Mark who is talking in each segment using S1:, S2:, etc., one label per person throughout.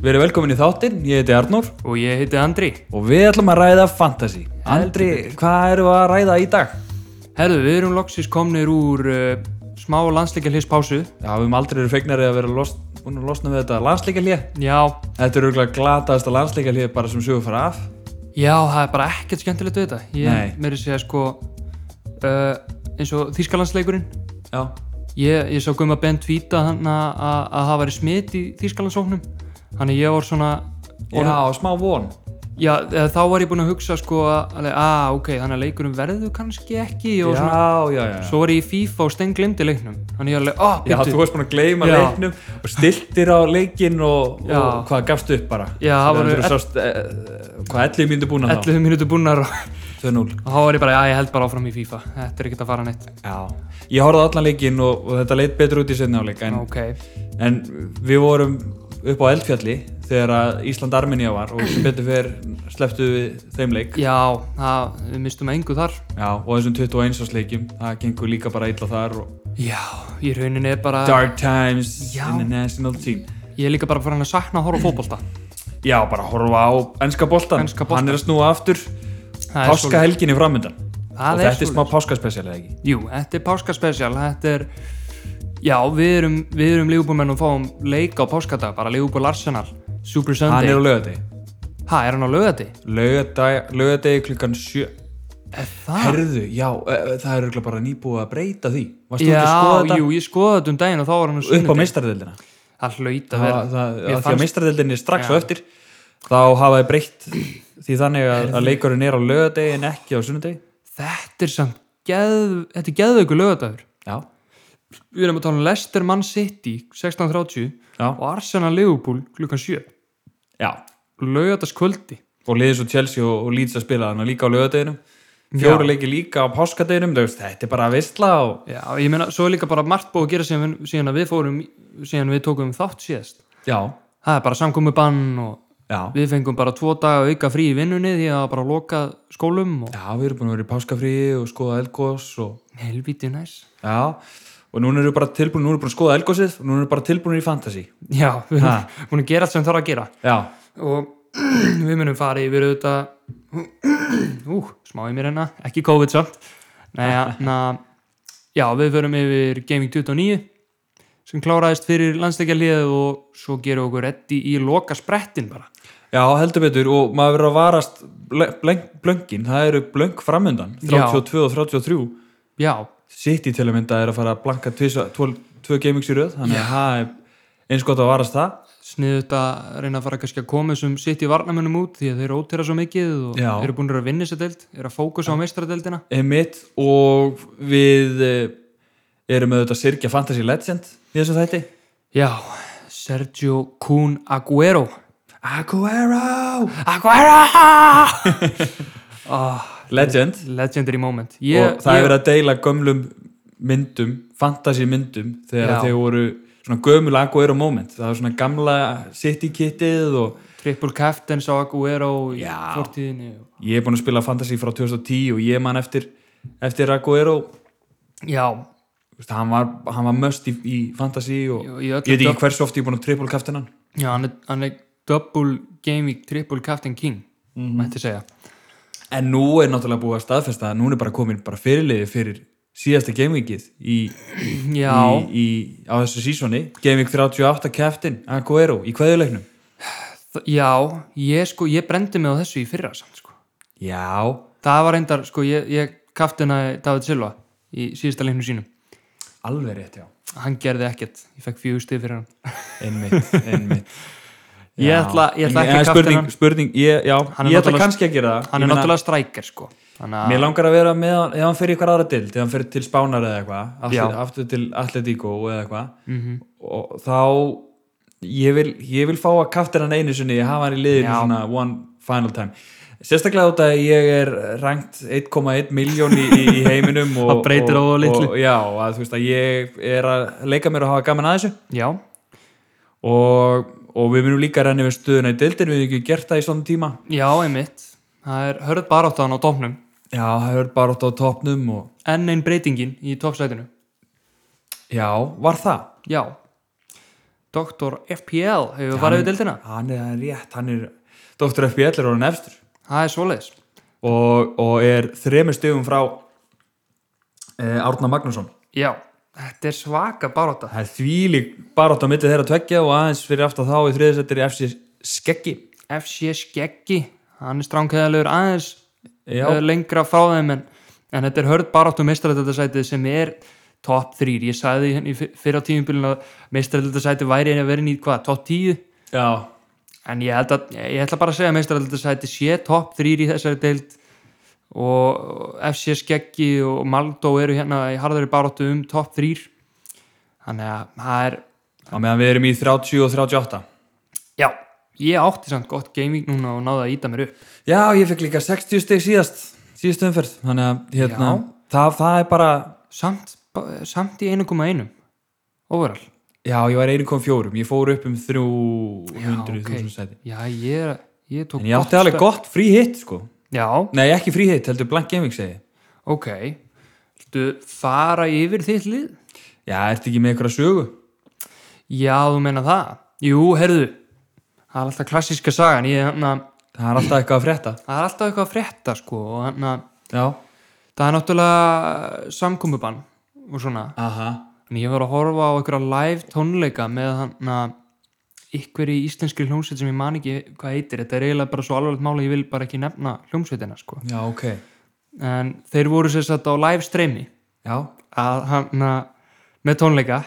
S1: Við erum velkomin í þáttinn, ég heiti Arnór
S2: Og ég heiti Andri.
S1: og við ætlum að ræða fantasy. Andri, hvað erum við að ræða í dag?
S2: Herðu, við erum loksins komnir úr uh, smá landsleikjarlis pásu.
S1: Já, við höfum aldrei verið feignari að vera lost, búin að losna við þetta landsleikalið.
S2: Já,
S1: Þetta er auðvitað glataðasta landsleikalið bara sem sögur fara af.
S2: já, það er bara ekkert skemmtilegt við þetta. Ég
S1: Nei.
S2: meiri segja sko, uh, eins og Þýskalandsleikurinn.
S1: Já,
S2: Ég, ég sá Guma Ben tvíta hann að að það væri smit í Þýskalandsóknum. Þannig ég var svona,
S1: já, smá von.
S2: já, eða þá var ég búinn að hugsa sko að, alveg, að ok, þannig að leikurinn verður kannski ekki
S1: Já,
S2: og svona.
S1: já, já.
S2: Svo var ég í FIFA og stein glimti leiknum. Þannig ég alveg, ah,
S1: Já, þú varst búin að gleyma
S2: Já.
S1: leiknum og stiltir á leikinn og,
S2: Já.
S1: og hvað gafst upp bara.
S2: Já,
S1: Þannig að
S2: það voru
S1: þú sást, eh, Hvað ellið myndu búin að þá?
S2: 11 mínútur búinnar og
S1: 2-0.
S2: og þá var ég bara, já ég held bara áfram í FIFA þetta er ekkert að fara neitt
S1: Já, ég horfði á allan leikinn og, og þetta leit betur út í setna áleik en,
S2: ok,
S1: en við vorum upp á eldfjalli þegar að Ísland-Armenía var og sem betur fyrr slepptu við þeim leik
S2: já, það, við mistum að engu þar
S1: Já, og þessum 21 árs leikjum það gengur líka bara illa þar og
S2: já, í rauninni er bara
S1: Dark Times
S2: Já.
S1: in the National Team
S2: ég er líka bara farin að sakna að horfa á fótbolta
S1: Já, bara horfa á ennska boltan,
S2: Enska boltann.
S1: hann er að snúa aftur
S2: Það er
S1: páska helginni framöndan
S2: Það
S1: og
S2: er
S1: þetta er
S2: svoleiðis.
S1: smá páskaspecial eða ekki
S2: svolítið- jú, þetta er páskaspecial, þetta er já, við erum, við erum lífbúrmenn og fáum leik á páskadag, bara lífbúr Arsenal Super
S1: Hann
S2: Sunday,
S1: er á lögadegi
S2: ha, er hann á lögati?
S1: Lögadegi, lögadegi klukkan 7
S2: er það?
S1: Herðu, já, e, e, það er örugglega bara nýbúið að breyta því Varstu ekki að skoða
S2: já,
S1: þetta?
S2: jú, ég skoða þetta um daginn og þá var hann á
S1: upp á
S2: sunnudegi.
S1: meistardeldina
S2: það hlaut að
S1: það,
S2: vera
S1: það, það,
S2: Mér
S1: af því að
S2: fannst-
S1: meistardeldin er strax
S2: Já.
S1: á eftir þá hafa þið breytt því þannig að, að leikurinn er á lögadegi en ekki á sunnudegi
S2: þetta er samt geð, þetta er geðveiku lögadagur
S1: já,
S2: við erum að tala um Leicester Man City 16.30
S1: já,
S2: og Arsenal Liverpool klukkan 7
S1: já
S2: laugatast kvöldi
S1: og liðið svo Chelsea og, og Leeds að spila þannig líka á lögadeginum fjóru
S2: Já.
S1: leiki líka á páskadeginum þú veist, þetta er bara að visla og
S2: já, ég meina, svo er líka bara margt búið að gera síðan, við- síðan að við fórum, síðan við tókum þátt síðast
S1: já,
S2: það er bara samkomi bann og
S1: já,
S2: við fengum bara tvo daga auka frí í vinnunni því að bara loka skólum og
S1: já, við erum búin að vera í páskafríi og skoða elgós og
S2: helviti næs
S1: já, og núna erum við bara tilbúin nú erum við búin að skoða elgósið og núna erum við bara tilbúin í fantasy
S2: já, við erum búin að gera allt sem þarf að gera
S1: já,
S2: og við munum fara yfir auðvitað ú, smá í mér hérna ekki COVID samt Nei, na, já, við förum yfir Gaming 29 sem kláraðist fyrir landsleikjarlið og svo gerum við okkur reddi í loka sprettin bara
S1: Já, heldur betur og maður verður að varast ble- blenk- blönkin, það eru blönk framöndan
S2: Já.
S1: 32 og 33
S2: já,
S1: City til að mynda er að fara að blanka tvisa, tvo, tvö gamings í röð þannig að það er eins gott að varast það
S2: sniðu þetta reyna að fara kannski að koma þessum sitt í varnamönnum út því að þeir ótera svo mikið og
S1: Já.
S2: eru búin að vinna sér deild eru að fókusa á meistradeildina
S1: emitt og við eh, erum auðvitað að sirkja Fantasy Legend í þessu þætti
S2: já, Sergio Kun Agüero
S1: Aguero!
S2: Agüero Ah.
S1: Legend
S2: legendary moment ég,
S1: og það
S2: ég,
S1: er verið að deila gömlum myndum, fantasy myndum þegar
S2: Já.
S1: þeir voru svona gömul Aguero moment, það var svona gamla City kittið og
S2: Triple Captains á Aguero í
S1: Já.
S2: fortíðinni og-
S1: Ég er búin að spila Fantasy frá 2010 og ég man eftir, eftir Aguero
S2: Já,
S1: Þú veist, hann var, hann var möst í, í Fantasy og
S2: Í- í
S1: ég
S2: öllum
S1: veit ekki
S2: döp-
S1: hversu oft ég er búin að triple kaftin hann
S2: já hann, er, hann er double game week triple captain king
S1: Mhm.
S2: mætti segja
S1: en nú er náttúrulega búið að staðfesta að núna er bara komin bara fyrirliði fyrir síðasta gamevikið í, í,
S2: Já,
S1: í, á þessu sísoni Gameweek 38 kaftin Aguero í kveðuleiknum
S2: þ- já ég sko, ég brendi mig á þessu í fyrra samt sko.
S1: Já,
S2: Það var reyndar, sko, ég, ég kaftina David Silva í síðasta leiknum sínum
S1: alveg rétt já
S2: Hann gerði ekkert, ég fekk fjögur stið fyrir hann
S1: Einmitt, einmitt
S2: Ég
S1: Já.
S2: ætla- ég ætla
S1: En-
S2: ekki
S1: en
S2: að kaftina
S1: Spurning,
S2: hann.
S1: spurning, ég, já,
S2: Hann er
S1: ég ætla
S2: náttúrulega-
S1: kannski að gera það
S2: Hann
S1: Ég
S2: er
S1: meina-
S2: náttúrulega striker sko Þannig
S1: Mér
S2: að,
S1: langar að vera með hann, ef hann fer í eitthvað aðra dild, ef hann fer til Spánar eða eitthvað, aftur,
S2: Já. Mhm.
S1: aftur til Atletico eða eitthvað, og þá, ég vil, ég vil fá að kaftir hann einu sinni, ég hafa hann í liðinu
S2: Já.
S1: svona one final time. Sérstaklega út að ég er rangt 1,1 miljón í, í í heiminum og,
S2: Það breytir
S1: og,
S2: á litlu.
S1: og já, að þú veist að ég er að leika mér að hafa gaman að þessu
S2: já,
S1: og, og við munum líka renni við stöðuna í dildinu, við hefum ekki gert það í svona tíma
S2: já, einmitt Það er hörð baráttan á topnum
S1: já, það er bara átt á topnum og
S2: Enn einn breytingin í topsætinu
S1: já, var það?
S2: Já Dr. FPL hefur
S1: Hann-
S2: farið við deildina
S1: hann er rétt, hann er Dr. FBL er orðin efstur
S2: það er svoleiðis
S1: og, og er þremur stegum frá e, Árna Magnússon
S2: já, þetta er svaka baróta
S1: það er þvílík barátt á milli þeirra tveggja og aðeins fyrir aftan þá í þriðisettir FC Skeggi
S2: FC Skeggi, hann er stránkæðalegur aðeins
S1: Já.
S2: uh, lengra frá þeim en, en þetta er hörð baráttu meistaratöldasætið sem er top 3, ég sagði í- í fyrra tímubilin að meistaratöldasætið væri að vera nýtt hvað, top 10
S1: Já,
S2: en ég, held að, ég ætla bara að segja að meistaratöldasætið sé top 3 í þessari deild og FC Skeggi og Maldó eru hérna í harðari baráttu um top 3 þannig að það er
S1: á meðan við erum í 30 og 38
S2: já, ég átti samt gott gaming núna og náði að íta mér upp
S1: Já, ég fekk líka 60 steg síðast síðast umferð, þannig að hérna,
S2: Já.
S1: það, það er bara
S2: samt, ba- samt í 1.1 overall
S1: Já, ég var 1.4, ég fór upp um 300.000
S2: ok.
S1: sæti
S2: Já, ég, er- ég tók
S1: En ég átti alveg
S2: stökk.
S1: gott frí hitt, sko
S2: Já,
S1: Nei, ekki frí hitt, heldur blank gaming segi ég.
S2: ok Viltu fara yfir þitt lið?
S1: Já, ertu ekki með einhverja sögu?
S2: Já, þú meina það Jú, herðu Það er alltaf klassíska sagan ég, hana,
S1: Það er alltaf eitthvað að frétta
S2: Það er alltaf eitthvað að frétta sko og hana,
S1: Já,
S2: Það er náttúrulega eh, samkomubann og svona
S1: aha
S2: En ég var að horfa á einhverja live tónleika með hann að ykkur í íslenskri hljómsveit sem ég man ekki hvað heitir, þetta er eiginlega bara svo alvarlegt máli ég vil bara ekki nefna hljómsveitina sko
S1: Já, ok
S2: en þeir voru sér satt á live streymi
S1: Já,
S2: að hann með tónleika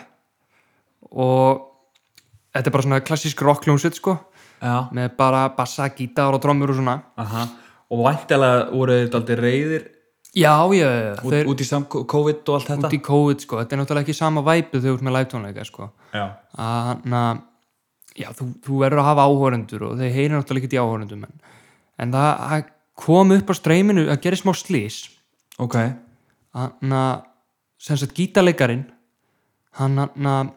S2: og þetta er bara svona klassísk rockljónsveit sko
S1: já,
S2: með bara bassa, gítar og trommur og svona
S1: aha Og væntalega voru þetta aldrei reyðir
S2: já, já, já,
S1: út,
S2: þeir
S1: út í sam COVID og allt þetta
S2: út í COVID sko þetta er náttúrulega ekki sama væpið þegar þú ert með live tónleika sko
S1: Já,
S2: að hann já, þú, þú verður að hafa áhórendur og þeir heyri náttúrulega ekki í áhórendum en, en það að kom upp á streyminu að gera smá slís
S1: ok
S2: hann að sem sagt gítarleikarin hann hann að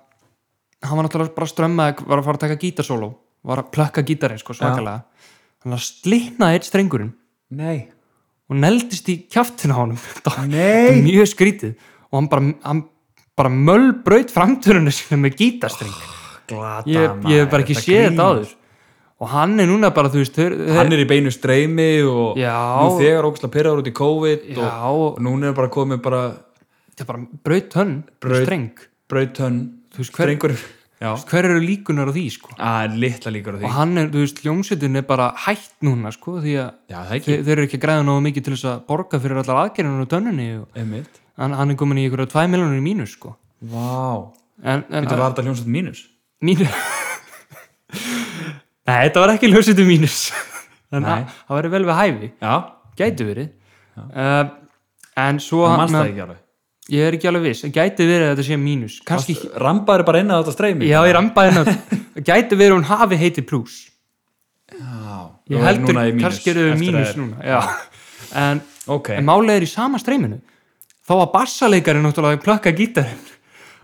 S2: hann var náttúrulega bara strömmaði var að fara að taka gítarsóló var að plökka gítarinn sko svakalega hann að slitnaði eitt strengurinn
S1: Nei
S2: og neldist í kjaftina á honum Þetta var
S1: Nei
S2: mjög skrítið og hann bara, hann bara möllbraut framtörunni sinna með gítarstreng
S1: Glata
S2: ég, ég hef bara ekki séð þetta áður og hann er núna bara þú veist þeir,
S1: Hann er í beinu streymi og
S2: Já.
S1: nú þegar ógstlega pyrraður út í COVID
S2: já,
S1: og, og núna er bara komið bara
S2: þetta er bara braut hönn
S1: Braut-
S2: streng
S1: brautönn
S2: Þú veist, hver-
S1: strengur Já,
S2: hver eru líkunar á því sko
S1: að litla líkur á því
S2: og hann er, þú veist, hljómsveitin er bara hætt núna sko því að
S1: Já, það ekki,
S2: þeir, þeir eru ekki að græða nógu mikið til þess að borga fyrir allar aðgerðinu og tönnunni og
S1: einmitt
S2: hann, hann er komin í ykkur 2 miljonur í mínus sko
S1: Vá,
S2: en, en
S1: þetta var þetta hljómsveit mínus
S2: mínu... Nei, þetta var ekki hljómsveitin mínus þannig
S1: Nei.
S2: að það væri vel við hæfi
S1: Já,
S2: gæti verið uh, en svo
S1: það
S2: hann-
S1: mannst það ekki alveg
S2: ég er ekki alveg viss, en gæti verið að þetta sé mínus kannski,
S1: Varstu- Rambaður bara inn að þetta streymi
S2: já, ég rambaði hennar gæti verið að hún hafi heiti plus
S1: Já,
S2: ég
S1: þú er
S2: heldur,
S1: núna í mínus
S2: kannski eru
S1: eftir
S2: við
S1: að
S2: mínus
S1: er-
S2: núna já, en
S1: Ok,
S2: en málið er í sama streyminu þá var bassaleikari náttúrulega að plökka gítarinn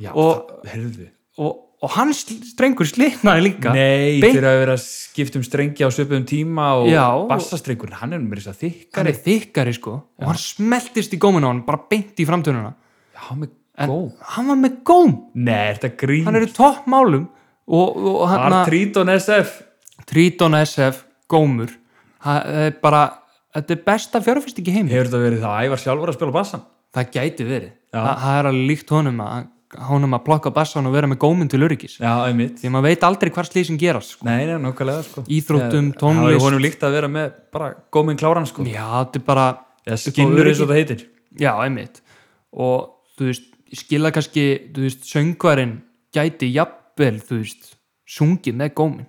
S1: já,
S2: og-
S1: það, herðu
S2: og, og hans strengur slitnaði líka
S1: Nei,
S2: Beint-
S1: þeir hafa verið að skipta um strengi á söpum tíma
S2: Já.
S1: og bassastrengur, hann er mér þess að
S2: hann
S1: þykkari
S2: er þykkari sko og hann smeltist í góminu á hann bara beint í framtönuna
S1: Já, með
S2: en
S1: góð
S2: hann var með góm
S1: Nei, er þetta grín
S2: hann er í toppmálum og, og hann að
S1: Artriton SF
S2: Triton SF gómur Ha- það er bara þetta er besta fjárfyrst ekki heim
S1: Hefur þetta verið það Ævar sjálfur að spila bassan?
S2: það gæti verið
S1: Já.
S2: Þa, það er alveg líkt honum að, honum að plokka bassan og vera með góminn til öryggis
S1: Já, einmitt
S2: því að maður veit aldrei hvar slýsing gerast sko.
S1: Nei, nei, nokkulega sko
S2: íþróttum,
S1: Eh, Það
S2: tónlist
S1: var honum líkt að vera með bara góminn kláran sko
S2: Já, þetta er bara
S1: Eða skinnur eins og það heitir
S2: Já, einmitt og þú veist, ég skila kannski þú veist, söngvarinn gæti jafnvel, þú veist, sungið með gómin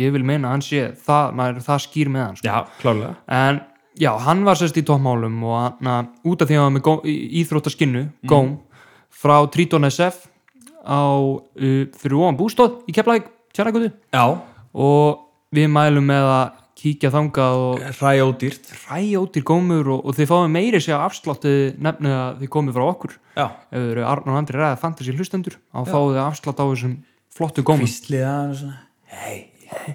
S2: ég vil meina að hann sé það, maður, það skýr með hann sko.
S1: Já, klálega
S2: en já, hann var sérst í toppmálum og hann, na, út af því að hann var með gó, í- íþróttaskinnu, góm frá Triton SF á uh, fyrir ofan bústóð í Keflæk, Tjarnakutu
S1: Já,
S2: og við mælum með að kíkja þangað og
S1: ræjódýrt
S2: ræjótir gómur og, og þið fáum meiri sér afslátti eh, nefnið að þið komið frá okkur ef
S1: Já
S2: þið eru Arn og Andri ræða fantasy hlustendur þá fáum þið afslátt á þessum flottu gómum
S1: Hvíslið að hann og svona Hei,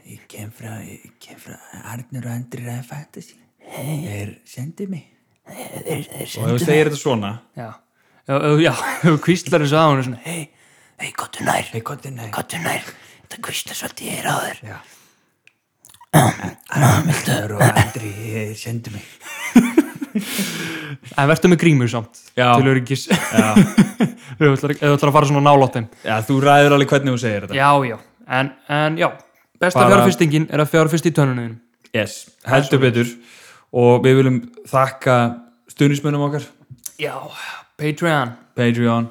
S1: ég kem frá, ég kem frá Arnur og Andri Ræða Fantasy Hei Þeir sendi mig Þeir, þeir sendi Og ef þú segir þetta svona
S2: já, já, já, já hvíslar þessu að hún er svona hei, hei, gottu nær,
S1: Nei, hvað er nei?
S2: gottu nær þetta kvistast svolítið ég er á þér
S1: Já. Arnur og Andri, sendu mig.
S2: en verður með grímur samt
S1: Já.
S2: til öryggis, ef
S1: Já.
S2: þú ætlar ef þú ætlar að fara svona nálótt þeim
S1: Já, þú ræður alveg hvernig þú segir þetta.
S2: já, já, en, en já besta
S1: Bara-
S2: fjárfestingin er að fjárfesti í tönnunum
S1: Yes, heldur betur. Og við viljum þakka stuðnismönnum okkar,
S2: já, Patreon
S1: Patreon.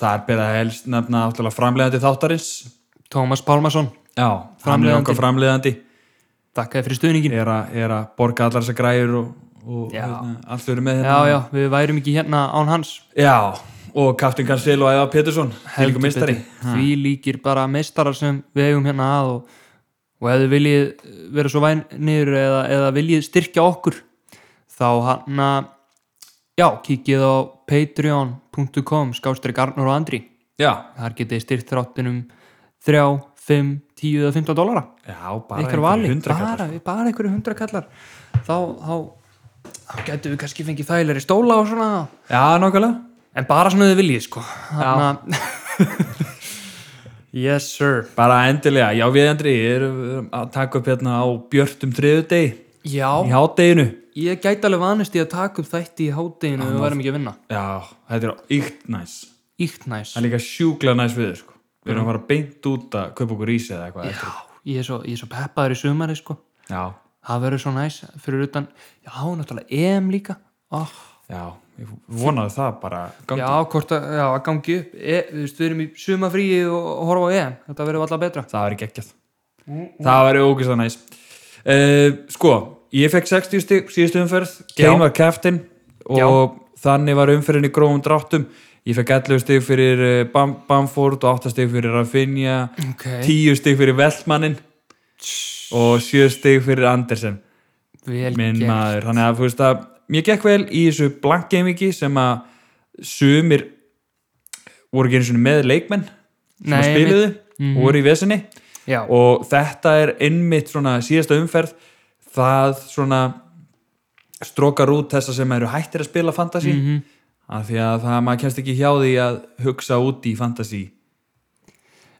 S1: Þar ber að helst nefna áttalega framleiðandi þáttarins.
S2: Tómas Pálmarsson,
S1: Já, hann er
S2: Framleiðandi.
S1: okkar framleiðandi.
S2: takk fyrir stuðningin
S1: Er, a, er að borga allar þessar græður og, og
S2: Já.
S1: hérna, allt fyrir með
S2: já,
S1: hérna.
S2: já, við værum ekki hérna án hans
S1: Já, og Captain Cancel og Æva Pétursson, helgum mistari.
S2: betur. því líkir bara meistarar sem við eigum hérna að og, og ef þið viljið vera svo vænir eða, eða viljið styrkja okkur þá hann að já, kíkið á patreon.com skástrík Arnur og Andri
S1: Já,
S2: þar getið styrkt um þráttinum 3, 5, 10 eða 15 dólara
S1: já, bara
S2: ykkur vali,
S1: hundrakallar.
S2: bara, bara einhverju hundrakallar þá, þá, þá getum við kannski fengið þægilegri stóla og svona
S1: Já, nákvæmlega.
S2: En bara svona þið viljið sko Hanna... Yes sir
S1: Bara endilega, já við Andri erum erum að taka upp hérna á björtum þriðudegi
S2: Já,
S1: í hátdeginu
S2: ég gæti alveg vanist í að taka upp þætti í hátteginu og við verðum ekki að vinna
S1: Já, þetta er ykt næs
S2: Íkt næs
S1: Það er líka sjúkla næs við sko. Við erum að fara beint út að kaupa okkur ísi eða eitthvað
S2: Já, ég er svo, ég er svo peppaður í sumari sko
S1: Já,
S2: Það verður svo næs fyrir utan Já, náttúrulega EM líka oh.
S1: já, ég vonaði það bara gangi.
S2: Já, hvort að, já, að gangi upp e, Við veist, við erum í sumafríi og og horfa á EM Þetta verður alltaf betra
S1: Það væri geggjað
S2: Mm,
S1: Það væri ógist að næs uh, Sko, ég fekk 60 stig síðustu umferð
S2: Já.
S1: Kane var keftin og þannig var umferðin í grófum dráttum Ég fekk 11 stig fyrir eh, Bam Bamford og 8 stig fyrir Rafinha
S2: Ok,
S1: tíu stig fyrir Veltmannin og sjö stig fyrir Andersen
S2: vel
S1: minn
S2: gert.
S1: maður, þannig að þú veist að mér gekk vel í þessu blankgamingi sem að sumir voru ekki einu sinni með leikmenn sem
S2: Nei, Mhm.
S1: að spiluðu og voru í vesinni
S2: Já,
S1: og þetta er einmitt svona síðasta umferð það svona strókar út þessa sem eru hættir að spila fantasy
S2: Mhm.
S1: af því að það maður kemst ekki hjá því að hugsa út í fantasy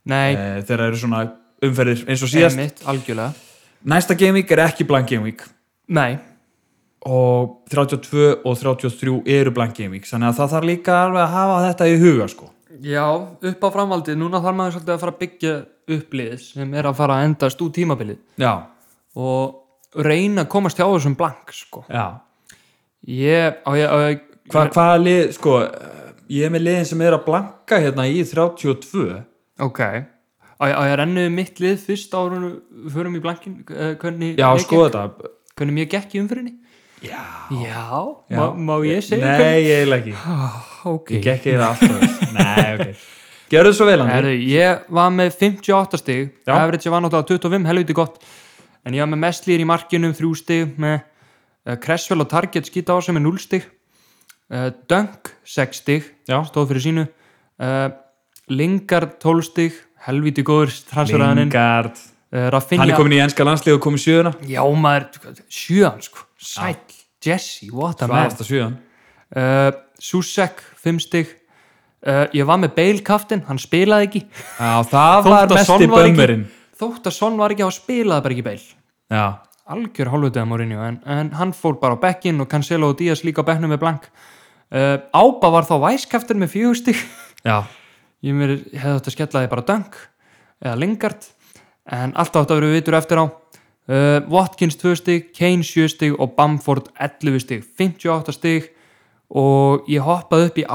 S2: nei,
S1: eh, þegar eru svona umferðir eins og síðast
S2: einmitt, algjörlega
S1: Næsta Game Week er ekki blank Game Week
S2: Nei,
S1: og 32 og 33 eru blank Game Week þannig að það þarf líka alveg að hafa þetta í huga sko.
S2: Já, upp á framhaldið, núna þarf maður svolítið að fara að byggja upp liðið sem er að fara að endast úr tímabilið
S1: Já,
S2: og reyna að komast hjá þessum blank sko.
S1: já.
S2: Ég, á ég, á ég
S1: Hva, hvaða lið, sko eh, ég er með liðin sem er að blanka hérna í 32
S2: ok á ég, á ég rennu mitt lið fyrst árunu förum í blankin, eh, hvernig
S1: Já,
S2: ég
S1: sko
S2: gekk,
S1: þetta
S2: hvernig mér gekk í umfyrinni
S1: Já,
S2: Já,
S1: já.
S2: Má, má ég segja
S1: Nei, ég eiginlega ekki
S2: hvernig ok,
S1: Ég gekk eða alltaf Nei, ok Gjörðu svo vel hann
S2: Herðu, ég var með 58 stig
S1: Já.
S2: average var náttúrulega 25, helviti gott en ég var með mestlýr í markinum 3 stig með uh, Cresswell og Target skýta á sem er 0 stig uh, Dunk 6 stig
S1: Já.
S2: stóð fyrir sínu uh, Lingard 12 stig helviti góður transferðaninn uh,
S1: Lingard Hann
S2: Rafinha
S1: er komin í enska landslið og komin í sjöuna
S2: já maður, sjöan sko sæl, Jesse, what a man
S1: Svarasta sjöun
S2: uh, Susek 5 stig uh, ég var með Bale kaftin, hann spilaði ekki
S1: Já, það
S2: Þótt
S1: var
S2: að Son
S1: mesti
S2: var ekki-
S1: bömmerinn
S2: þótt að Son var ekki á að spilaði bara ekki beil
S1: Já,
S2: algjör hálfutaða Mourinho en, en hann fór bara á bekkinn og Cancelo og Díaz líka á bekknum með blank uh, Ába var þá væskaftur með fjögustig
S1: já
S2: ég mér hefði átt að skella því bara döng eða lingard en alltaf átt að vera vitur eftir á uh, Watkins 2 stig, Kane 7 stig og Bamford 11 stig 58 stig og ég hoppaði upp í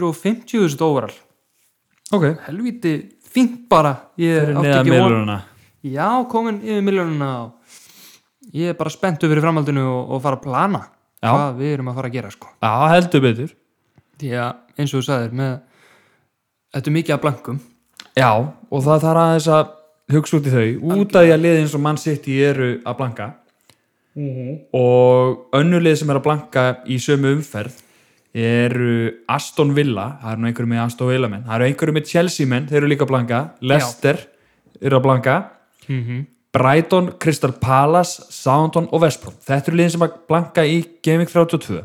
S2: 850.000 overall
S1: Ok
S2: helviti fínt bara ég
S1: Fyrir
S2: átti
S1: neðan
S2: ekki von-
S1: milluruna
S2: Já, komin yfir miljónuna og ég er bara spenntu fyrir framhaldinu og, og fara að plana
S1: Já.
S2: hvað við erum að fara að gera sko.
S1: Já, heldur betur
S2: Því að eins og þú sagðir með þetta er mikið af blankum
S1: Já, og það þarf aðeins að hugsa út í þau út af því að liðið eins og mann sitt í eru að blanka og önnu lið sem er að blanka í sömu umferð eru Aston Villa það eru nú einhverju með Aston Villa menn það eru einhverju með Chelsea menn, þeir eru líka að blanka Leicester eru að blanka Brighton, Crystal Palace Southampton og Vesprom þetta eru liðin sem að blanka í Gaming 32
S2: mm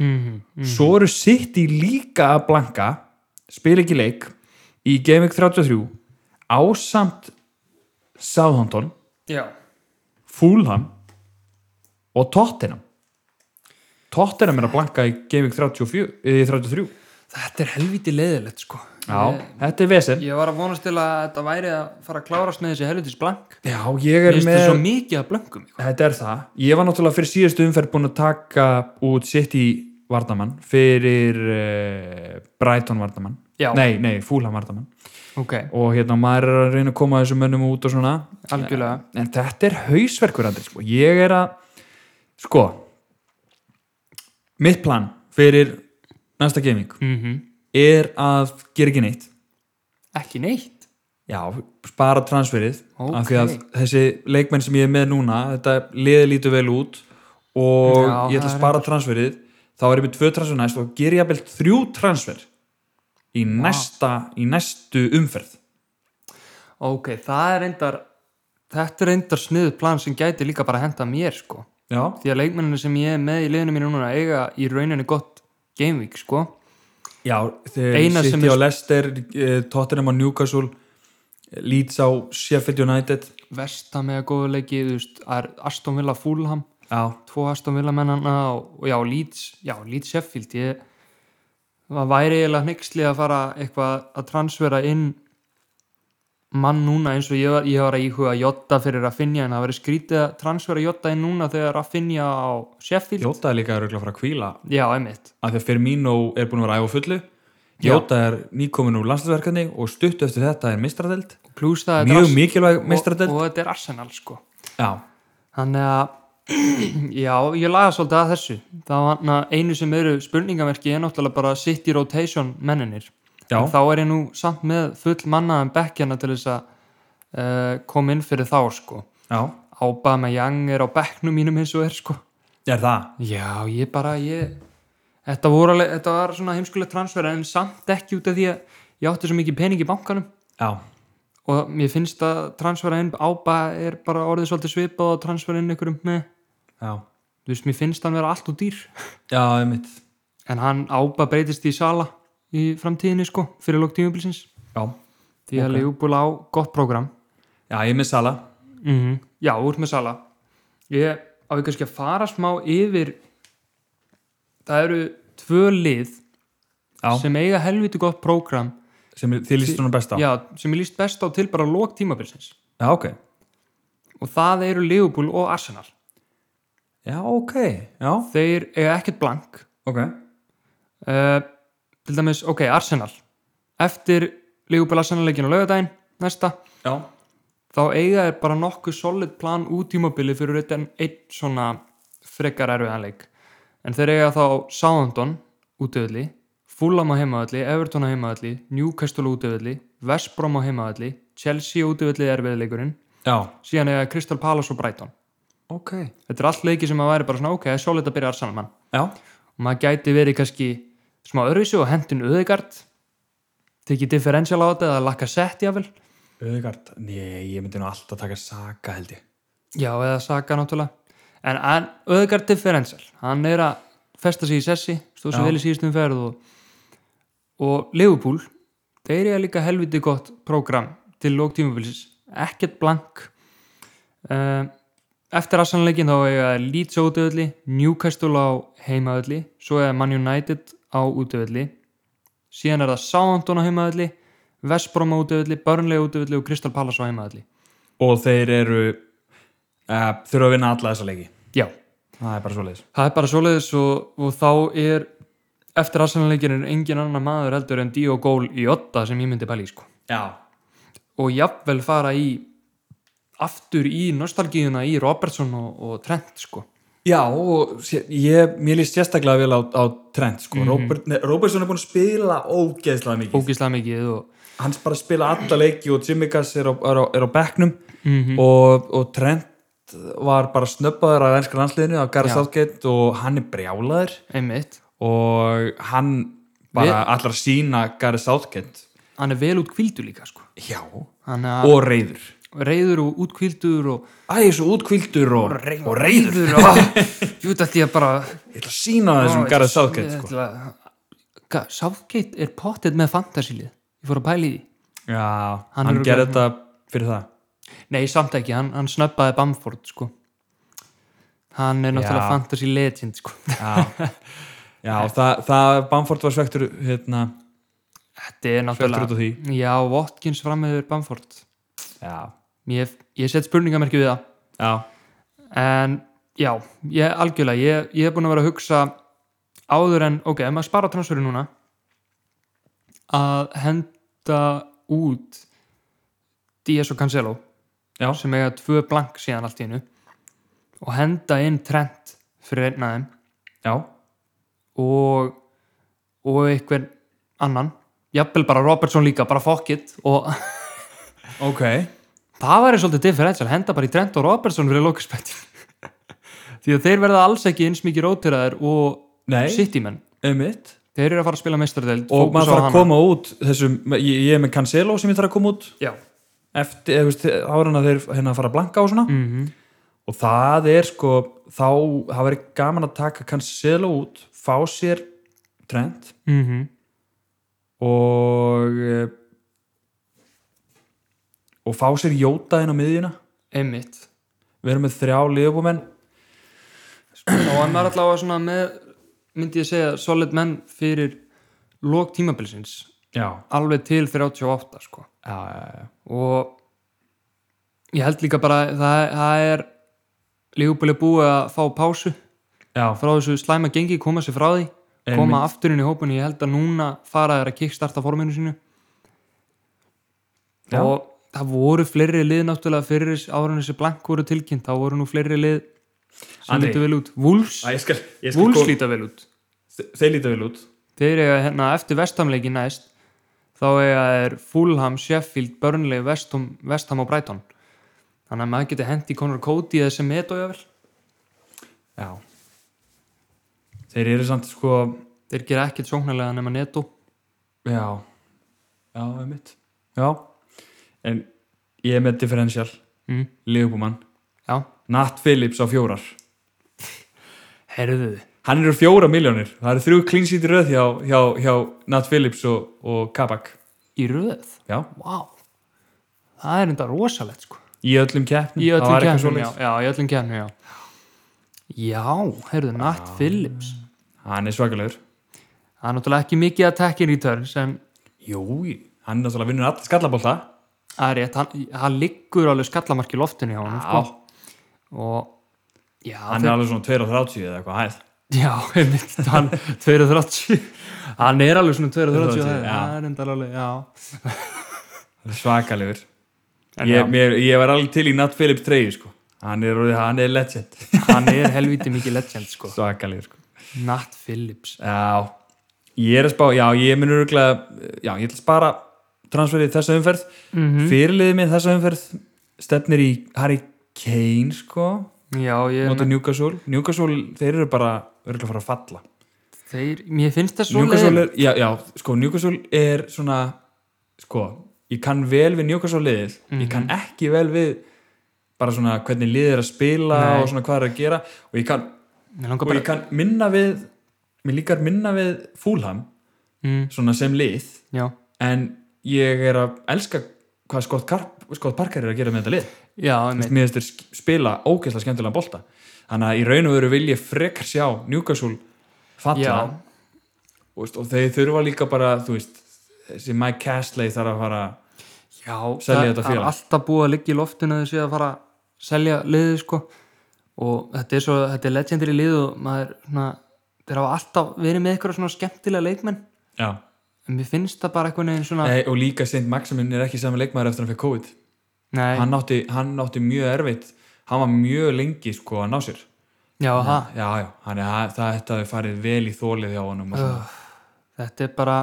S2: -hmm.
S1: svo eru City líka að blanka spila ekki leik í Game Week 33 ásamt Southampton,
S2: já,
S1: Fulham og Tottenham Tottenham er að blanka í Game Week 34, eh, 33
S2: þetta er helviti leiðilegt sko
S1: Já, þetta er vesen
S2: Ég var að vonast til að þetta væri að fara að klárast með þessi helvitis blank.
S1: Já, ég
S2: Mér
S1: er
S2: finnst
S1: með
S2: þetta svo mikið að blankum. Sko.
S1: Þetta er það. Ég var náttúrulega fyrir síðustu umferð búin að taka út sitt í Vardamann fyrir uh, Brighton Vardamann.
S2: Já.
S1: Nei, nei, Fúlham Vardamann.
S2: Ok,
S1: Og hérna maður er að reyna að koma þessum mönnum út og svona.
S2: algjörlega.
S1: En þetta er hausverkur andri, sko. Ég er að, sko, mitt plan fyrir næsta gaming
S2: Mm
S1: er að gera ekki neitt.
S2: Ekki neitt.
S1: Já, spara transferið
S2: Ókei.
S1: af því að þessi leikmenn sem ég er með núna þetta liði lítur vel út og
S2: Já,
S1: ég ætla að
S2: það er
S1: spara transferið þá er ég með tvö transfer næst og ger ég að belt þrjú transfer í, næsta, í næstu umferð
S2: Ok, það er reyndar, þetta er reyndar sniðu plan sem gæti líka bara að henda mér sko.
S1: Já,
S2: Því að leikmenninu sem ég er með í liðinu mínu núna eiga í rauninni gott gameweek sko.
S1: Já
S2: Eina
S1: þegar
S2: sem
S1: City
S2: er-
S1: á Leicester eh, Tottenham á Newcastle Leeds á Sheffield United
S2: Vesta með að góða leiki, þú veist, það er Aston Villa Fulham,
S1: Já,
S2: tvo Aston Villa mennana og, og já, Leeds, já, Leeds Sheffield, ég, það væri eiginlega hnyggsli að fara eitthvað að transfera inn mann núna eins og ég var, ég var að íhuga Jotta fyrir Raffinja en það verið skrítið að transfera Jotta inn núna þegar Raffinja á Sheffield
S1: Jóta er líka örugglega að fara að kvíla
S2: Já, einmitt
S1: af því að Firmino er búin að vera æg og fullu
S2: Já.
S1: Jóta er nýkomin úr landslæsverkefni og stutt eftir þetta er mistradeld
S2: Plus það þetta er
S1: mjög
S2: Ars-
S1: mikilvæg
S2: og,
S1: mestradelt
S2: og þetta er Arsenal sko
S1: já,
S2: Þannig að já, ég laga svolítið að þessu það var na, einu sem eru spurningamerki er náttúrulega bara sitt í rotation menninir
S1: Já.
S2: en þá er ég nú samt með full mannaðan bekkjana til þess að uh, koma inn fyrir þá sko
S1: já,
S2: Ábama Young er á bekknum mínum eins og er sko
S1: er það
S2: Já, ég bara, ég þetta, voru alveg, þetta var svona heimskulega transfer en samt ekki út af því að ég átti svo mikið pening í bankanum
S1: já,
S2: og mér finnst að transfera inn ába er bara orðið svolítið svipað og transfera inn ykkur um með
S1: já,
S2: þú veist, mér finnst hann vera allt og dýr
S1: já, einmitt
S2: en hann ába breytist í sala í framtíðinni sko, fyrir lók tímubilsins
S1: já,
S2: því að Leopold á gott prógram
S1: já, ég er með Sala
S2: mm já, úr með sala ég á ekki kannski að fara smá yfir það eru tvö lið
S1: Já.
S2: sem eiga helviti gott prógram
S1: sem er- þið líst núna best á
S2: já, sem ég líst best á til bara lók tímubilsins
S1: já, ok,
S2: og það eru Leopold og Arsenal
S1: já, ok já,
S2: þeir eiga ekkert blank
S1: ok,
S2: uh, til dæmis, ok, Arsenal eftir Leopold Arsenal leikin á laugardaginn næsta,
S1: já,
S2: þá eiga er bara nokkuð solid plan út tímabili fyrir utan einn svona frekar erfiðan leik en þeir eiga þá Southampton útöðli, Fulham á heimaðalli Everton á heimaðalli, Newcastle útöðli West Brom á heimaðalli Chelsea útöðli erfiðleikurinn
S1: já,
S2: síðan eiga Crystal Palace og Brighton
S1: ok
S2: þetta er allt leiki sem að væri bara svona ok, það er solid að byrja Arsenal mann
S1: já,
S2: og maður gæti verið kannski smá örvísu og hendin öðegard tekið differential á þetta eða lakka sett jáfnvel
S1: auðvigart, nei, ég myndi nú alltaf taka Saka held ég
S2: já eða saka náttúrulega en, en öðegard differential hann er að festa sig í sessi stóð
S1: Já.
S2: svo vel í síðustum ferð og, og Liverpool þeir eru líka helviti gott prógram til lók tímabilsis ekkert blank um, eftir aðsannleikin þá eiga þeir Leeds á útöðli, Newcastle á heimaðli, svo er Man United á útöðli síðan er það Southampton á heimaðli West Brom á útöðli, Burnley á útöðli og Crystal Palace á heimaðli
S1: og þeir eru uh, þurfa að vinna alla þessa leiki
S2: já,
S1: það er bara svoleiðis
S2: það er bara svoleiðis og, og þá er eftir aðsannleikin er engin annar maður heldur en Dio Gól í otta sem ég myndi pæli sko
S1: já,
S2: og jafnvel fara í aftur í nostalgíuna í Robertson og, og Trent sko
S1: já og sé- ég, mér líst sérstaklega vel á, á trend sko. Robert, nei, Robertson er búin að spila ógeðslega mikið
S2: ógislega mikið og
S1: hans bara spila alla leiki og Jimmy Gass er á, er á, er á bekknum Mhm. og, og Trent var bara snöppaður af ennska landsliðinu af Gareth
S2: Já.
S1: Southgate og hann er brjálaður
S2: einmitt
S1: og hann bara allar sína Gareth Southgate
S2: hann er vel út kvildu líka sko
S1: já,
S2: hann er
S1: og reyður
S2: reyður og út kvildur og
S1: æ, svo útkvildur og, og reyður
S2: reyður og jú þetta ég bara
S1: ég ætla að sína þessum Gareth Southgate sko.
S2: sko. Southgate er pottet með fantasílið ég fór að pæli því
S1: Já,
S2: Hann
S1: hann,
S2: er
S1: gerði
S2: örugglega-
S1: þetta fyrir það
S2: Nei, samt ekki, hann, hann snöppaði Bamford sko. Hann er náttúrulega
S1: Já.
S2: fantasy legend sko.
S1: Já, já það, það Bamford var svektur hérna,
S2: Þetta
S1: svektur út
S2: er náttúrulega
S1: af því
S2: Já, Watkins fram yfir Bamford
S1: Já,
S2: Ég, ég set spurningamerki við það
S1: já,
S2: en já, ég algjörlega ég, ég hef búin að vera að hugsa áður en, ok, ef maður spara transferin núna að henda út Díaz og Cancelo
S1: Já.
S2: sem eiga tvö blank síðan allt í hennu og henda inn Trent fyrir einn af þeim
S1: já,
S2: og, og einhver annan, jafnvel bara Robertson líka, bara fuck it og
S1: ok
S2: það væri svolítið differential, henda bara í Trent og Robertson fyrir lókisbettin því að þeir verða alls ekki eins mikið rótiraðir og
S1: Nei,
S2: citymenn
S1: emitt
S2: þeir eru að fara að spila mestardeld
S1: Og maður þarf að koma út þessum, ég, ég er með Cancelo sem ég þarf að koma út
S2: já,
S1: eftir, eða, veist, ára en að þeir hérna fara að blanka og svona
S2: mm
S1: og það er sko þá, það verið gaman að taka Cancelo út, fá sér trend og eh, og fá sér Jóta inn á miðjuna
S2: einmitt
S1: við erum með þrjá liðbúmenn
S2: og hann er allavega svona með myndi ég segja, solid menn fyrir lók tímabilsins
S1: já,
S2: alveg til 38 sko
S1: já, já,
S2: og ég held líka bara að það, það er lífbúli búið að fá pásu
S1: já, já,
S2: frá þessu slæma gengi, koma sér frá því koma aftur inn í hópinu, ég held að núna fara þeir að kickstarta forminu sínu
S1: Já.
S2: og það voru fleiri lið náttúrulega fyrir árunni sem blank voru tilkynnt þá voru nú fleiri lið sem
S1: Andri.
S2: lítur vel út Wolves,
S1: Æ, ég skal, ég skal
S2: Wolves
S1: koma-
S2: líta vel út
S1: Þe- þeir líta vel út
S2: þeir eiga hérna eftir vestamleiki næst þá eiga er Fulham, Sheffield, Burnley, Vestum, Vestham og Brighton þannig að maður getur hendi Conor Cody eða sem metu vel
S1: já þeir eru samt sko
S2: þeir gera ekkert sóknarlega nema netu
S1: já, já, einmitt já, en ég er með differential
S2: mm.
S1: liðbúmann,
S2: já,
S1: Nat Phillips á fjórar
S2: herðu
S1: hann eru fjóra miljónir, það eru þrjú klinsít í röð hjá, hjá, hjá Nat Phillips og, og Kabak
S2: í röð
S1: já,
S2: Vá, það er enda rosalegt sko.
S1: í öllum keppnum
S2: Í
S1: það var
S2: öllum
S1: eitthvað
S2: kefnum, já,
S1: svoleiðis.
S2: já, í öllum kefnum, já. Já, heyrðu, Nat Phillips.
S1: hann er svakalegur
S2: Það er náttúrulega ekki mikið að tekja í törn sem
S1: jú, hann náttúrulega vinnur allir skallabólta
S2: það er rétt, hann, hann liggur alveg skallamarki í loftinu hjá hann,
S1: já,
S2: sko. Og, já,
S1: hann er alveg svona 2.30 eða eitthvað hæð
S2: já, einmitt, hann, 230, hann er alveg svona 230,
S1: 230, já.
S2: það er enda alveg, já.
S1: Hann er svakalegur
S2: En já.
S1: ég, mér, ég var alveg til í Nat Phillips 3 sko. hann, er, orðið- hann er legend
S2: Hann er helviti mikið legend, sko.
S1: svakalegur sko.
S2: Nat Phillips.
S1: já, ég er að spá já, ég munur örgulega já, ég ætla að spara transferið þessa umferð
S2: Mm
S1: Mhm. fyrirliðið minn þessa umferð stefnir í Harry Kane sko,
S2: Já, ég,
S1: nota Newcastle Newcastle, þeir eru bara örgulega að fara að falla
S2: þeir, mér finnst það svo
S1: Newcastle er, já, já, sko, Newcastle er svona, sko ég kann vel við Newcastle liðið
S2: Mhm.
S1: ég kann ekki vel við bara svona hvernig liðið er að spila
S2: Nei.
S1: og svona hvað er að gera og ég kann,
S2: Mér langar
S1: og
S2: bara,
S1: ég kann minna við mér líkar minna við Fulham
S2: mm,
S1: svona sem lið
S2: já.
S1: en ég er að elska hvað Scott, Karp, Scott Parker er að gera með þetta lið
S2: Já, einmitt.
S1: Mér finnst þeir sk- spila ógeðslega skemmtilega bolta þannig að í raun og veru vil ég frekar sjá Newcastle falla
S2: Já.
S1: og, veist, og þeir þurfa líka bara þú veist, þessi Mike Castley þarf að fara
S2: Já,
S1: selja
S2: það-
S1: þetta
S2: það er
S1: félag.
S2: alltaf búið að liggja í loftinu að þessi að fara að selja liðið sko og þetta er svo, þetta er legendary lið og maður, svona, þeir hafa alltaf verið með eitthvað svona skemmtilega leikmenn
S1: já.
S2: en mér finnst það bara einhvern veginn svona
S1: Nei, og líka St. Maximin er ekki saman leikmaður eftir hann fyrir COVID
S2: nei,
S1: hann átti, hann átti mjög erfitt hann var mjög lengi sko að ná sér
S2: já, það,
S1: já, já, hann er það þetta hefði farið vel í þólið hjá honum og svona.
S2: þetta er bara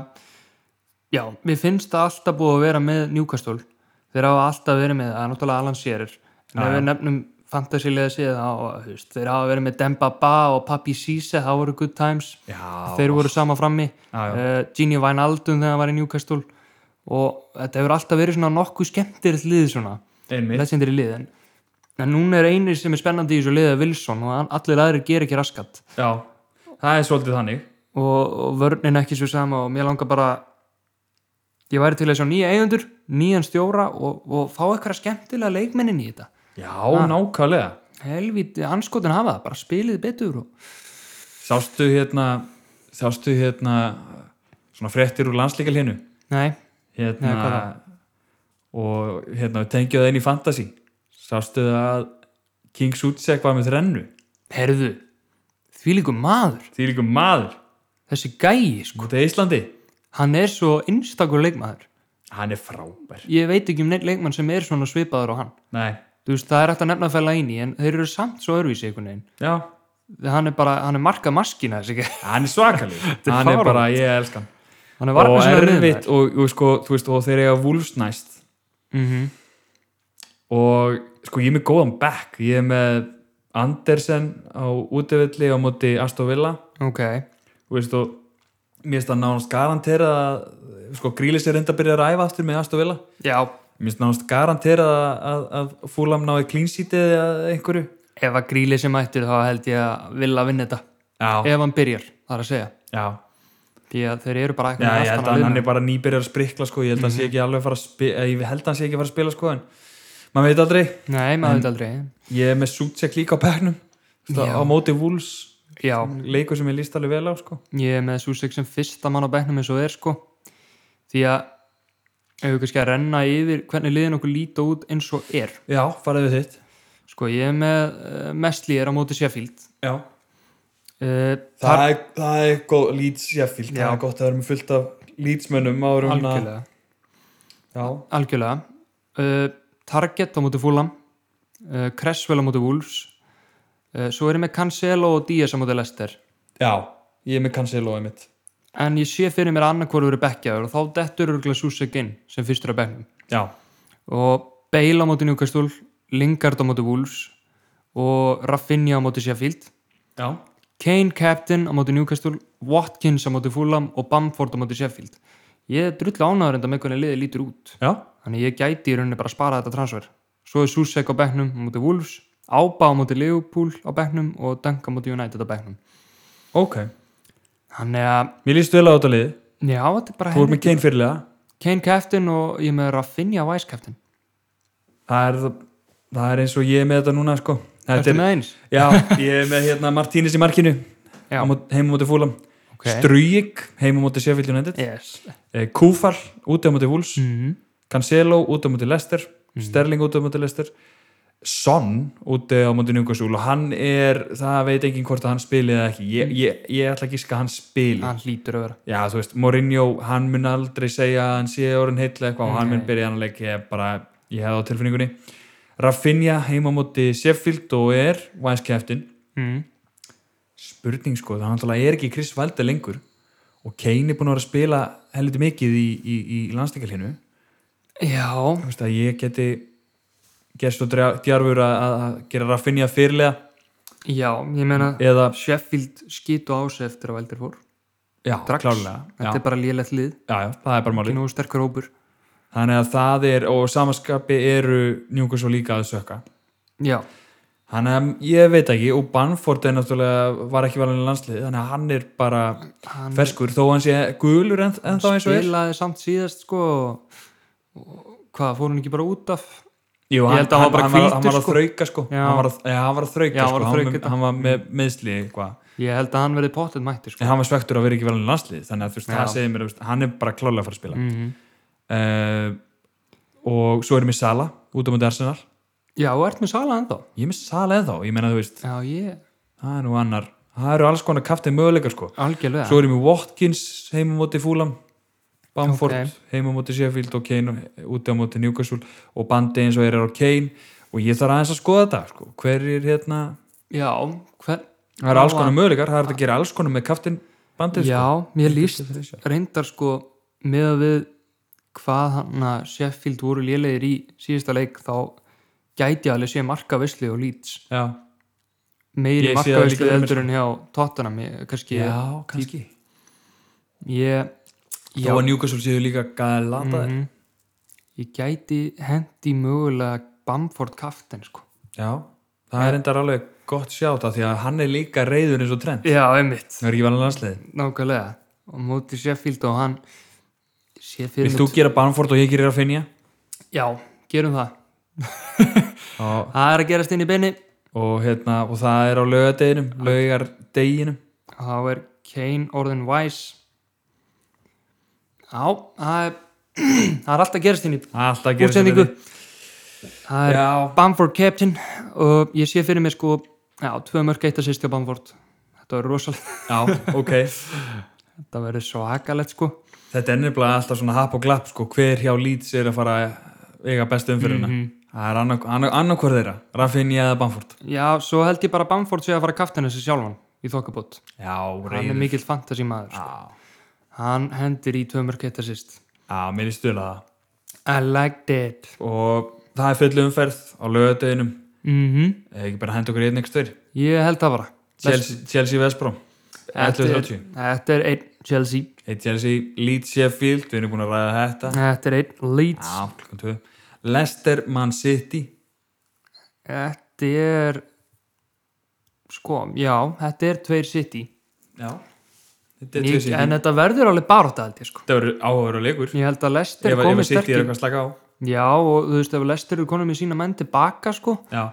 S2: já, mér finnst það alltaf búið að vera með Newcastle, þeir hafa alltaf verið með það er náttúrulega Alan Shearer en
S1: Já,
S2: ef
S1: já.
S2: við nefnum fantasilega séð þá, þú veist, þeir hafa verið með Demba Ba og Papi Sise, það voru good times
S1: já,
S2: þeir voru sama frammi
S1: Já, já.
S2: uh, Gini Wijnaldum þegar hann var í Newcastle og þetta hefur alltaf verið svona nokkuð skemmtir lið svona,
S1: einmitt
S2: legendary lið en, en núna er einir sem er spennandi í þessu liða Wilson og hann- allir aðrir ger ekki raskat
S1: já, það er svolítið þannig
S2: og, og vörnin ekki svo sama og mér langar bara ég væri til að sjá nýja eigendur, nýjan stjóra og, og fá eitthvað skemmtilega leikmennin í þetta
S1: Já, nákvæmlega
S2: helviti, anskotin hafa það, bara spilið betur og...
S1: Sástu hérna Sástu hérna Svona fréttir úr landslíkalinu
S2: nei,
S1: hérna,
S2: Nei, hvað þá?
S1: og hérna tengja það inn í fantasy sástu það að King Sutsek var með þrennu
S2: herðu því líku maður,
S1: því líka maður
S2: þessi gæi sko.
S1: út af Íslandi
S2: hann er svo innstakur leikmaður
S1: hann er frábær
S2: ég veit ekki um neitt leikmann sem er svona svipaður á hann
S1: Nei.
S2: þú veist, það er hægt að nefna að fæla inn í en þeir eru samt svo örvísi einhvern veginn
S1: Já,
S2: hann er bara, hann er markað maskina þessi gæi.
S1: hann er svakalig
S2: er
S1: hann er
S2: fáránlegt.
S1: bara, ég elska hann
S2: hann er
S1: og
S2: varna sinna
S1: erfitt og, og, sko, þú veist, og þeir eiga Wolves næst
S2: mm
S1: Mhm.
S2: -hmm.
S1: og sko ég er með góðan back ég er með Andersen á útivilli á móti Aston Villa
S2: ok,
S1: þú veist og mér finnst það nánast garantera að sko grílis er reynda að byrja að ræfa aftur með Aston Villa
S2: já
S1: mér finnst nánast garantera að, að, að fúlam náði klínsítið eða einhverju
S2: ef að gríli sem mættir þá held ég að vilja vinna þetta
S1: já,
S2: ef hann byrjar, það er að segja
S1: já,
S2: því að þeir eru bara
S1: já
S2: eitthvað
S1: ég held að hann er bara nýbyrjar að sprikla sko, ég held að hann sé ekki alveg að fara að spila ég held að hann sé ekki að fara að spila sko en maður veit aldrei,
S2: nei, maður veit aldrei
S1: ég er með Sucek líka á bæknum
S2: Já.
S1: á móti Wolves
S2: já,
S1: leikur sem ég líst alveg vel á sko
S2: ég er með Susek sem fyrsta mann á bæknum eins og er sko því að ef við kannski að renna yfir hvernig liðin okkur líta út eins og er
S1: já, faraðu þitt
S2: sko, ég er með uh, mestli er á móti Sheffield
S1: já.
S2: uh,
S1: það, er, það er góð Leeds, ég fylg,
S2: Já.
S1: það er gott að vera með fullt af Leedsmönnum árum hann að-
S2: algjörlega
S1: já,
S2: algjörlega uh, Target á móti Fulham uh, Cresswell á móti Wolves uh, svo erum við Cancelo og Díaz á móti Lester
S1: já, ég er með Cancelo einmitt
S2: en ég sé fyrir mér annarkvörður er bekkjaður og þá dettur örgulega Susek inn sem fyrstur á bekknum
S1: já,
S2: og Bale á móti Newcastle Lingard á móti Wolves og Rafinha á móti Sheffield
S1: já,
S2: Kane Captain á móti Newcastle Watkins á móti Fulham og Bamford á móti Sheffield ég er drullu ánæður enda með hvernig liðið lítur út
S1: já,
S2: þannig ég gæti í rauninni bara að spara þetta transfer svo er Susek á bekknum á móti Wolves Ába á móti Leopold á bekknum og Dunk á móti United á bekknum
S1: ok
S2: þannig að,
S1: Mér líst vel á þetta lið,
S2: já, þetta er bara
S1: þú er með Kane fyrirlega
S2: Kane Captain og ég er með Rafinha Vice Captain
S1: það er, það er eins og ég er með þetta núna sko. þetta
S2: Ertu
S1: er,
S2: með eins?
S1: já, ég er með hérna Martínis í markinu
S2: Já.
S1: á mót- heima á móti fúlam
S2: Ok.
S1: okay. Strujik heima á móti Sheffield United
S2: Yes
S1: yeah. Eh, Kúfar út á móti Wolves
S2: mm.
S1: Cancelo út á móti Leicester Sterling út á móti Leicester Son út á móti Newcastle og hann er, það veit enginn hvort að hann spili eða ekki, ég, ég, ég ætla ekki að hann spili
S2: Hann hlýtur að vera
S1: já, þú veist, Mourinho, hann mun aldrei segja að hann sé orðin heitlega eitthvað og hann mun
S2: Nei.
S1: byrja hann að leik ég bara, ég hefði á tilfinningunni Rafinha heima á móti Sheffield og er Wise Captain Mhm.
S2: mm.
S1: spurning sko, það náttúrulega er ekki Chris Valde lengur og Kane er búin að vera að spila helviti mikið í, í, í landstingalhinu,
S2: Já,
S1: þú veist að ég geti gerst og drjá- djarfur að, að- að gera Rafinha fyrirlega
S2: já, ég meina
S1: eða,
S2: Sheffield skýtu á sig eftir að veldir fór
S1: já,
S2: Drax.
S1: klárlega já,
S2: Þetta er bara lélegt lið,
S1: já, já, það er bara
S2: ekki
S1: máli
S2: nógu sterkur hópur
S1: þannig að það er, og samanskapi eru njungur svo líka að sökka
S2: Já,
S1: Þannig að ég veit ekki og Banford er náttúrulega var ekki valin í landsliði þannig að hann er bara
S2: hann
S1: ferskur þó hann sé gulur en, en þá eins og er
S2: spilaði samt síðast sko og, og hvað, fór hann ekki bara út af
S1: Jú,
S2: Ég
S1: hann,
S2: held að hann var bara
S1: hann, var,
S2: hvíldur,
S1: hann var að
S2: sko.
S1: þrauka sko
S2: Já.
S1: hann var að, ja, hann var að þrauka
S2: Já,
S1: sko
S2: hann var að
S1: hann,
S2: þrauka
S1: með,
S2: þetta.
S1: hann var með meðsli eitthvað
S2: Ég held að hann verði pottet mættir sko
S1: en hann var svektur að vera ekki valin í landsliði þannig að þú veist,
S2: Já.
S1: það segir mér, þú veist, hann er bara klálega að fara að spila
S2: mm
S1: uh, Eh, og svo erum við Sala út á mútið Arsenal
S2: Já, og ert með Sala ennþá
S1: ég er með Sala eða þá, ég meina þú veist
S2: Já, ég,
S1: það er nú annar, það eru alls konar kaftið möguleikar sko
S2: algjörlega
S1: svo erum við Watkins heima á móti Fúlam Bamford
S2: Ok.
S1: heima á móti Sheffield og Kane úti á móti Newcastle og bandi eins og er á Kane og ég þarf aðeins að skoða þetta sko. hver er hérna
S2: Já, hver
S1: það er alls
S2: Já,
S1: konar möguleikar, það er hægt að gera alls konar með kaftin bandið
S2: Já,
S1: sko.
S2: mér líst reyndar sko með að við hvað hann að Sheffield voru lélegir í síðasta leik þá gæti alveg sé markavisli og lýts
S1: já,
S2: meiri
S1: Ég sé það líka fyrir
S2: markavisli
S1: mér,
S2: heldur en hjá Tottenham ég, kannski
S1: já, kannski
S2: ég,
S1: þó
S2: já,
S1: að Newcastle séu líka gæði lata
S2: mhm. ég gæti hendi mögulega Bamford kaftin sko
S1: já, það er endar alveg gott sjáta því að hann er líka reyður eins og trend
S2: Já, einmitt
S1: það er ekki vanlega landsliði
S2: Nákvæmlega og móti Sheffield og hann sé fyrir
S1: Vilt þú gera Bamford og ég gerir að finja?
S2: Já, gerum það
S1: Og,
S2: Það er að gerast inn í beini
S1: og, hérna, og það er á laugardeginum, laugardeginum.
S2: Þá er Kane orðin Wise Já, það er það er alltaf að gerast hérna inn í
S1: Alltaf gerir
S2: útsendingu Það er
S1: Já,
S2: Bamford Captain og ég sé fyrir mig sko já, tvö mörg eitt að sýst hjá Bamford Þetta verður rosalegt,
S1: já, ok.
S2: þetta verður svakalegt sko
S1: Þetta er nefnilega alltaf svona hap og glapp, sko, hver hjá Leeds er að fara að eiga bestu umfyrirna.
S2: Mhm.
S1: Það er annark- annar- annarkvörð þeirra, Rafinha eða Bamford.
S2: Já, svo held ég bara að Bamford sé að fara að kaftina sig sjálfan í þokkabót
S1: Já,
S2: Hann er
S1: reyður.
S2: mikill fantasy maður
S1: Já,
S2: Hann hendur í tvö mörg eitt að sýst
S1: já, mér er stöðlega það.
S2: I liked it
S1: Og það er full umferð á laugardeginum.
S2: mm
S1: Eða ekki bara henda okkur í einn ekstur.
S2: Ég held það bara
S1: Chelsea, Chelsea Vespró.
S2: Þetta er-
S1: 11.30.
S2: Þetta er einn Chelsea
S1: Eitt Chelsea, Leeds Sheffield, við erum búin að ræða þetta.
S2: Þetta er einn Leeds
S1: Já, klukkan tvö. Leicester Man City.
S2: Þetta er sko, já, þetta er tveir City
S1: Já. Þetta er tvö
S2: Ég,
S1: City.
S2: en þetta verður alveg baróta held ég sko
S1: Þetta verður áhugaður og leikur.
S2: ég held að Lester
S1: Ef
S2: er
S1: að
S2: komið
S1: City er
S2: sterkir
S1: eitthvað að slaka á.
S2: já og þú veist ef Lester er komið með sína menn tilbaka sko
S1: Já.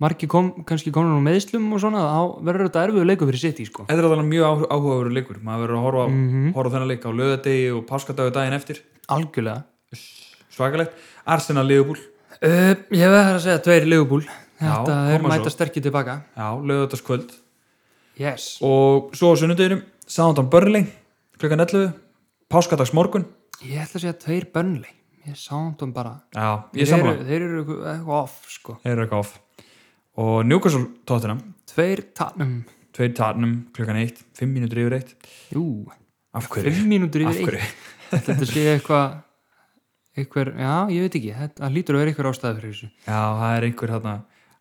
S2: margi kom, kannski komið nú meðslum og svona þá verður þetta erfiðu leiku fyrir City sko
S1: Þetta er alveg mjög áhugaður leikur. Maður verður að horfa, mm
S2: Mhm.
S1: horfa á þennan leik á löðadegi og páskadagu daginn eftir.
S2: algjörlega
S1: Svakalegt. Arsenal Liverpool.
S2: uh, ég verður að segja tveir Liverpool þetta
S1: Já,
S2: er
S1: koma svo.
S2: mæta sterkir tilbaka
S1: Já, löðadagskvöld.
S2: yes
S1: Og svo á sunnudeginum, Southampton Burnley, klukkan 11. Páskadagsmorgun.
S2: ég ætla að segja tveir Burnley ég sándum bara
S1: Já, ég
S2: þeir,
S1: samla.
S2: eru- þeir eru eitthvað- eitthvað off sko
S1: Þeir eru eitthvað off. Og Newcastle Tottenham,
S2: tveir tannum
S1: tveir tarnum klukkan eitt, fimm mínútur yfir eitt.
S2: jú
S1: Af hverju?
S2: fimm mínútur
S1: Af
S2: yfir eitt
S1: hverju?
S2: þetta sé eitthvað eitthvað, já, ég veit ekki þetta það lítur að vera eitthvað ástæði fyrir þessu
S1: Já, það er einhver þarna,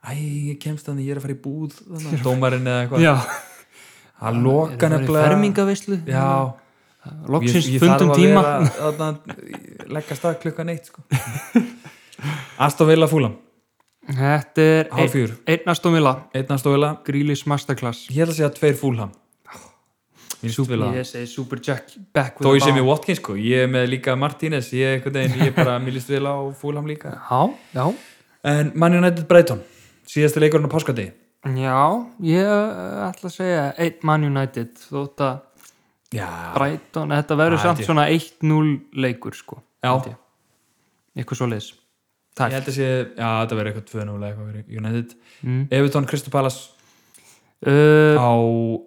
S1: æ, ég kemst þannig, ég er að fara í búð, þarna, dómarinn eða eitthvað.
S2: já,
S1: Það loka nefnilega.
S2: fermingavislu
S1: Já.
S2: loksins fundum tíma
S1: Ég þarf að vera, þarna, leggast að klukkan eitt, sko. Aston Villa Fúlam,
S2: þetta er
S1: hálf fjúr,
S2: einnastómila
S1: einn Aston Villa,
S2: Grílis Masterclass
S1: ég ætla að segja tveir Fúlam. Mér finnst Villa.
S2: ég segi Super Jack back
S1: Þó ég
S2: with
S1: sé
S2: the
S1: með
S2: bomb.
S1: Watkins, sko, ég er með líka Martínez, ég er einhvern veginn, ég er bara, mér líst Villa og Fúlam líka.
S2: já, já
S1: En Man United Brighton síðasti leikurinn á páskadegi
S2: já, ég uh, ætla að segja einn Man United þótt að
S1: Já,
S2: Brighton þetta verður
S1: Ah, held
S2: samt
S1: ég.
S2: svona 1-0 leikur sko
S1: Já.
S2: held ég. eitthvað svo leis
S1: ég held að sé Já, þetta verður eitthvað 2-0 eða eitthvað fyrir United
S2: mm.
S1: Everton Crystal Palace
S2: uh,
S1: á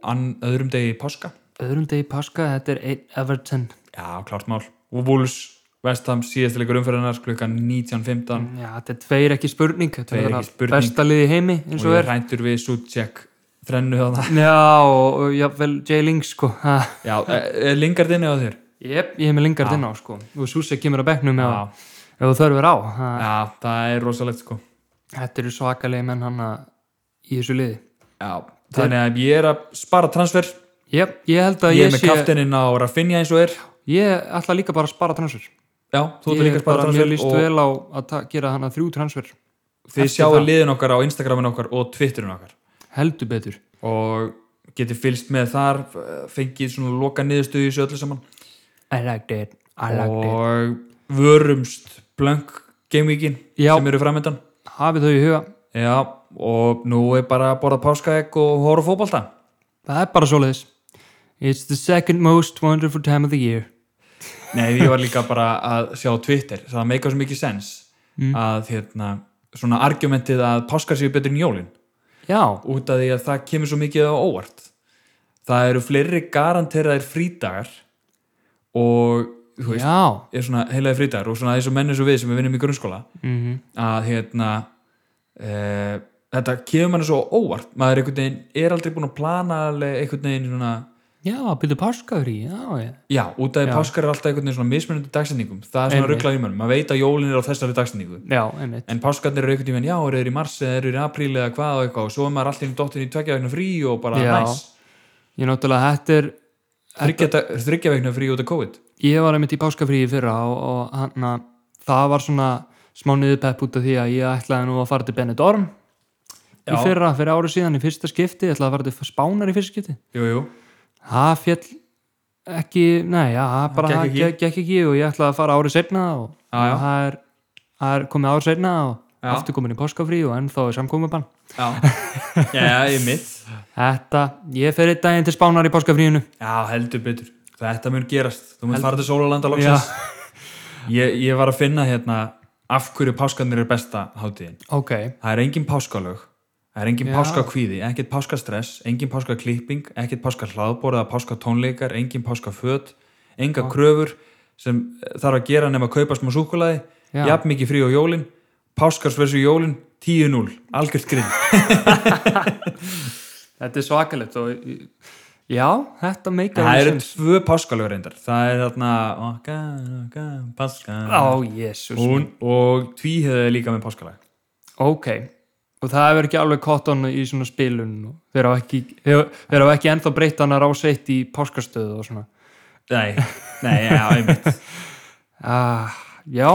S1: an, öðrum degi páska
S2: öðrum degi páska, þetta er einn Everton
S1: Já, klart mál Og Wolves West Ham síðasti leikur umferðinars klukkan 19.15
S2: já, þetta er tveir ekki spurning þetta
S1: Tveir
S2: er
S1: ekki
S2: bara
S1: spurning.
S2: besta liði heimi eins
S1: og
S2: og
S1: ég
S2: er
S1: ræntur við Suchek þrennu þarna
S2: já, og, og jafnvel Jay Ling sko ha.
S1: Já, er Lingard inni á þér?
S2: Jep, ég hef með lingard inn á sko og Súsi kemur að bekknum ef,
S1: Já,
S2: ef það þörfur á ha,
S1: já, það er rosalegt sko
S2: þetta eru svakalegi menn hann í þessu liði
S1: Já, þannig að ég er að spara transfer
S2: Jep, ég held að
S1: Ég er
S2: ég,
S1: með
S2: sé
S1: kaftininn á Rafinha eins og er
S2: ég ætla líka bara að spara transfer
S1: Já, þú ert
S2: ég
S1: líka að spara
S2: mjög
S1: transfer
S2: líst
S1: og-
S2: vel á að ta- gera hann að þrjú transfer
S1: Þið
S2: Eftir
S1: sjáu
S2: það.
S1: liðin okkar á Instagramin okkar og Twitterin okkar
S2: heldur betur
S1: og getið fylst með þar eh, fengið svona loka niðurstöðu í þessu öllu saman
S2: I liked it, I liked it
S1: og vörumst blank gamevíkin
S2: Já.
S1: sem eru framöndan
S2: hafið þau í huga,
S1: Já, og nú er bara að borða páskaegg og horfa á fótbolta
S2: það er bara svoleiðis It's the second most wonderful time of the year
S1: Nei, ég var líka bara að sjá á Twitter það meika svo mikið sens
S2: Mm.
S1: að hérna, svona argumentið að páskar séu betur en jólin
S2: Já,
S1: út af því að það kemur svo mikið á óvart það eru fleiri garanteraðir frídagar og þú veist,
S2: já
S1: er svona heilaði frídagar og svona eins og menn eins og við sem við vinnum í grunnskóla
S2: mm
S1: að hérna e, þetta kemur manni svo á óvart maður einhvern veginn er aldrei búin að plana alveg einhvern veginn svona
S2: Já, byrðu páskafrí, já, já
S1: já, út af því
S2: Já.
S1: páskar er alltaf einhvern veginn svona mismunandi dagsetningum það er svona
S2: Einmitt.
S1: rugglað í mönnum, maður veit að jólin er á þessari dagsetningu
S2: Já, einmitt
S1: en páskarnir eru einhvern veginn, já, eru þeir í mars eða eru þeir í apríl eða hvað og eitthvað og svo er maður allir dottin í tveggja vegna frí og bara
S2: Já.
S1: næs
S2: Ég náttúrulega, þetta er
S1: Þriggja dag- þriggja vegna frí út af COVID
S2: ég var einmitt í páskafríi fyrra og, og hann að það var svona smá niðurpepp út af því að ég ætlaði nú að fara til Benidorm
S1: Já.
S2: í fyrra, fyrir árið síðan í fyrsta skipti ég ætlaði að fara til Spánar í fyrsta skipti
S1: jú, jú,
S2: það fjall ekki, nei, já, það bara
S1: gekk
S2: það
S1: ekki.
S2: gekk, gekk ekki og ég ætlaði að fara árið setna og
S1: Já, já.
S2: það er, það er komið árið setna og
S1: Já.
S2: aftur komin í páskafrí og ennþá er samkomiðbann
S1: já, já, ég mitt
S2: Þetta, ég fer einn daginn til spánar í páskafríinu
S1: Já, heldur betur. Þetta mun gerast. Þú mun fara til Sólalanda loksins.
S2: Já.
S1: Ég, ég var að finna hérna af hverju páskarnir er besta hátíðin.
S2: Ok,
S1: Það er engin páskalög, það er engin
S2: Já.
S1: páskakvíði, ekkert páskastress, engin páskaklipping, ekkert páskahlaðbor eða páskatónleikar, engin páskaföt, enga kröfur sem eh, þarf að gera nema að kaupa smá súkulaði,
S2: Já.
S1: jafn mikið frí og jólin, páskars versus jólin, 10-0, algjört grinn.
S2: þetta er svakalegt og já, þetta meikar
S1: Það eru
S2: alveg sens.
S1: tvö páskalög reyndar, það er þarna, okka, okka, páskan.
S2: Á, jésus
S1: Hún og tvíhöðið er líka með páskalag
S2: Ok, og það hefur ekki alveg kottan í svona spilun og þeir hafa ekki, þeir þeir hafa ekki ennþá breytt hann að ráseitt í páskastöðu og svona
S1: Nei, nei, já, einmitt
S2: ah, Já,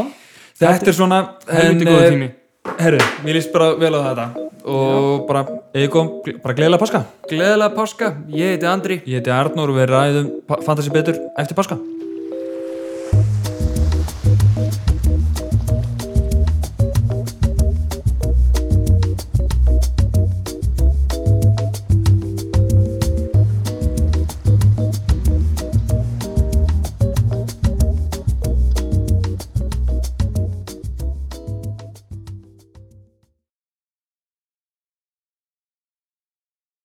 S1: Þetta er svona
S2: helviti
S1: eh,
S2: góða tími
S1: Herru, mér líst bara vel á þetta og bara, eða kom, bara gleðilega páska
S2: Gleðilega páska, ég heiti Andri
S1: Ég heiti Arnór og við ræðum pa- Fantasy betur eftir páska